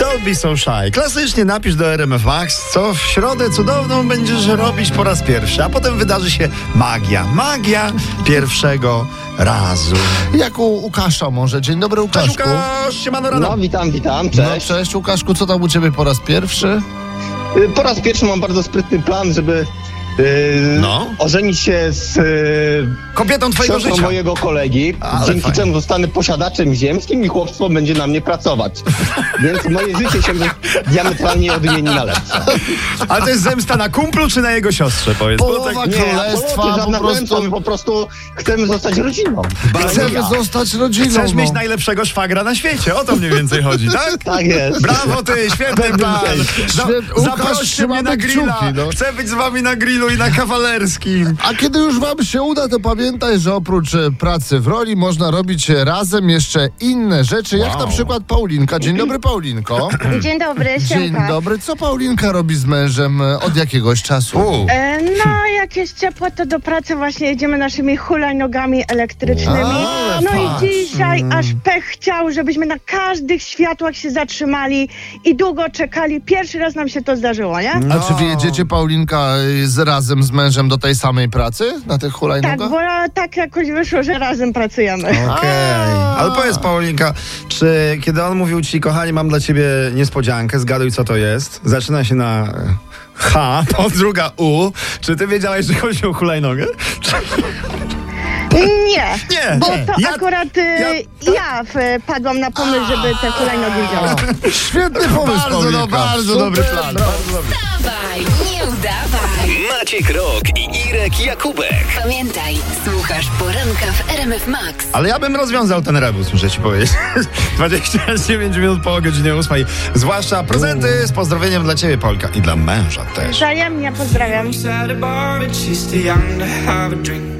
Don't be so shy. Klasycznie napisz do RMF Max, co w środę cudowną będziesz robić po raz pierwszy, a potem wydarzy się magia. Magia pierwszego razu. Jak u Łukasza może. Dzień dobry, Cześć Łukaszku. Łukasz, siemano rano. No, witam, witam, No cześć. cześć, Łukaszku, co tam u ciebie po raz pierwszy? Y, po raz pierwszy mam bardzo sprytny plan, żeby y, No. ożenić się z y, Kobietą twojego siostrą życia. mojego kolegi, Ale dzięki fajnie. czemu zostanę posiadaczem ziemskim i chłopstwo będzie na mnie pracować. Więc moje życie się diametralnie odmieni na lepsze. Ale to jest zemsta na kumplu czy na jego siostrze, powiedz. Bo Połowa tak- królestwa, absolutnie po żadna prostu wręcza, my po prostu chcemy zostać rodziną. Tak chcemy Ja. zostać rodziną. Chcesz mieć no. najlepszego szwagra na świecie, o to mniej więcej chodzi, tak? Tak jest. Brawo ty, świetny plan! Za, Świet- Łukasz, zaproście mnie trzymamy na grilla! kciuki, no. Chcę być z wami na grillu i na kawalerskim! A kiedy już wam się uda, to pamiętaj, że oprócz e, pracy w roli można robić razem jeszcze inne rzeczy, jak Wow. na przykład Paulinka. Dzień dobry, Paulinko. Dzień dobry, Dzień Siemka. dobry. Co Paulinka robi z mężem e, od jakiegoś czasu? U. E, No, jak jest ciepło, to do pracy właśnie jedziemy naszymi hulajnogami elektrycznymi. Ale No i fakt. dzisiaj aż pech chciał, żebyśmy na każdych światłach się zatrzymali i długo czekali. Pierwszy raz nam się to zdarzyło, nie? A No. czy wy jedziecie, Paulinka, e, z, razem z mężem do tej samej pracy? Na tych Tak, hulajnogach? bo tak jakoś wyszło, że razem pracujemy. Okej. Ale powiedz Paulinka, czy kiedy on mówił ci, kochanie, mam dla ciebie niespodziankę, zgaduj co to jest, zaczyna się na e, H, to druga U, czy ty wiedziałeś, że chodzi o hulajnogę? Czy... Nie, Nie, bo nie. to Ja- akurat e, ja- ja, e, padłam na pomysł, żeby te hulajnogi wziąć. Świetny pomysł, Bardzo, Paulinka. no, bardzo dobry Super, plan. brawo. Wstawaj, nie udawaj. Maciek Rok i Irek Jakubek. Pamiętaj, słuchasz poranka w RMF Max. Ale ja bym rozwiązał ten rebus, muszę ci powiedzieć. 29 minut po godzinie 8. Zwłaszcza prezenty z pozdrowieniem dla ciebie, Polka, i dla męża też. Wzajemnie pozdrawiam. She's at a bar, but she's too young to have a drink.